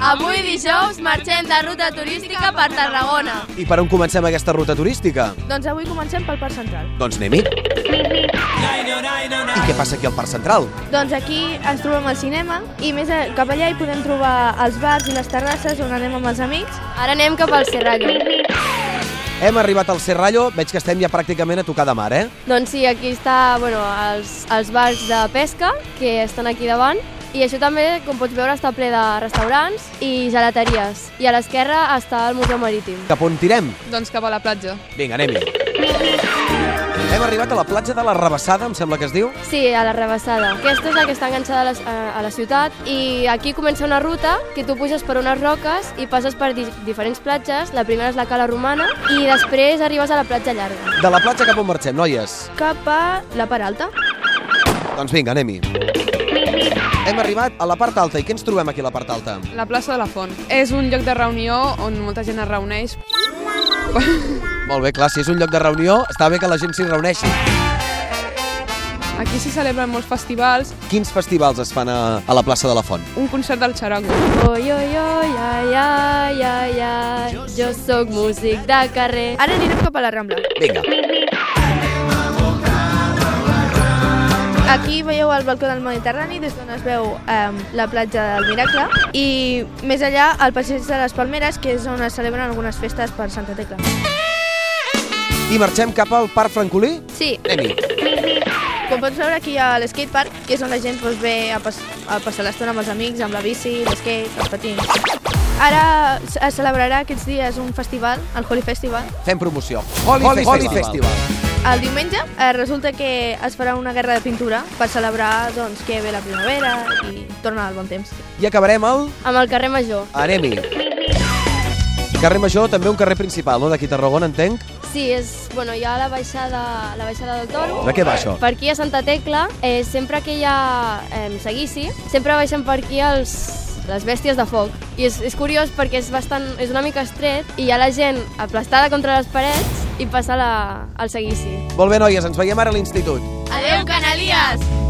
Avui dijous marxem de ruta turística per Tarragona. I per on comencem aquesta ruta turística? Doncs avui comencem pel Parc Central. Doncs anem-hi. I què passa aquí al Parc Central? Doncs aquí ens trobem al cinema i més a- cap allà hi podem trobar els bars i les terrasses on anem amb els amics. Ara anem cap al Serrallo. Hem arribat al Serrallo, veig que estem ja pràcticament a tocar de mar, eh? Doncs sí, aquí està bueno, els, els bars de pesca que estan aquí davant i això també, com pots veure, està ple de restaurants i gelateries. I a l'esquerra està el Museu Marítim. Cap on tirem? Doncs cap a la platja. Vinga, anem-hi. Hem arribat a la platja de la Rebassada, em sembla que es diu. Sí, a la Rebassada. Aquesta és la que està enganxada a la, a la ciutat i aquí comença una ruta que tu puges per unes roques i passes per di diferents platges. La primera és la Cala Romana i després arribes a la platja llarga. De la platja cap on marxem, noies? Cap a la part alta. Doncs vinga, anem-hi. Hem arribat a la part alta i què ens trobem aquí a la part alta? La plaça de la Font. És un lloc de reunió on molta gent es reuneix. Molt bé, clar, si és un lloc de reunió, està bé que la gent s'hi reuneixi. Aquí s'hi celebren molts festivals, Quins festivals es fan a, a la plaça de la Font? un concert del xarango. Oi, oi, oi, ai, ai, ai, ai, jo sóc músic de carrer. Ara anirem cap a la Rambla. Vinga. Aquí veieu el balcó del Mediterrani, des d'on es veu eh, la platja del Miracle, i més allà el passeig de les Palmeres, que és on es celebren algunes festes per Santa Tecla. I marxem cap al Parc Francolí? Sí, Anem-hi. com pots veure aquí hi ha l'skatepark, que és on la gent doncs, ve a, pas a passar l'estona amb els amics, amb la bici, l'skate, els patins. Ara es celebrarà aquests dies un festival, el Holy Festival. Fem promoció. Holy, Holy, Holy Festival. El diumenge eh, resulta que es farà una guerra de pintura per celebrar doncs, que ve la primavera i torna el bon temps. I acabarem al Amb el carrer Major. Anem-hi. Carrer Major, també un carrer principal, no? D'aquí a Tarragona, entenc. Sí, és, bueno, hi ha la baixada, la baixada del Toro. De què va això? Per aquí a Santa Tecla, eh, sempre que hi ha eh, seguici, sempre baixen per aquí els, les bèsties de foc. I és, és curiós perquè és, bastant, és una mica estret i hi ha la gent aplastada contra les parets i passa la, el seguici. Molt bé, noies, ens veiem ara a l'institut. Adeu, canalies!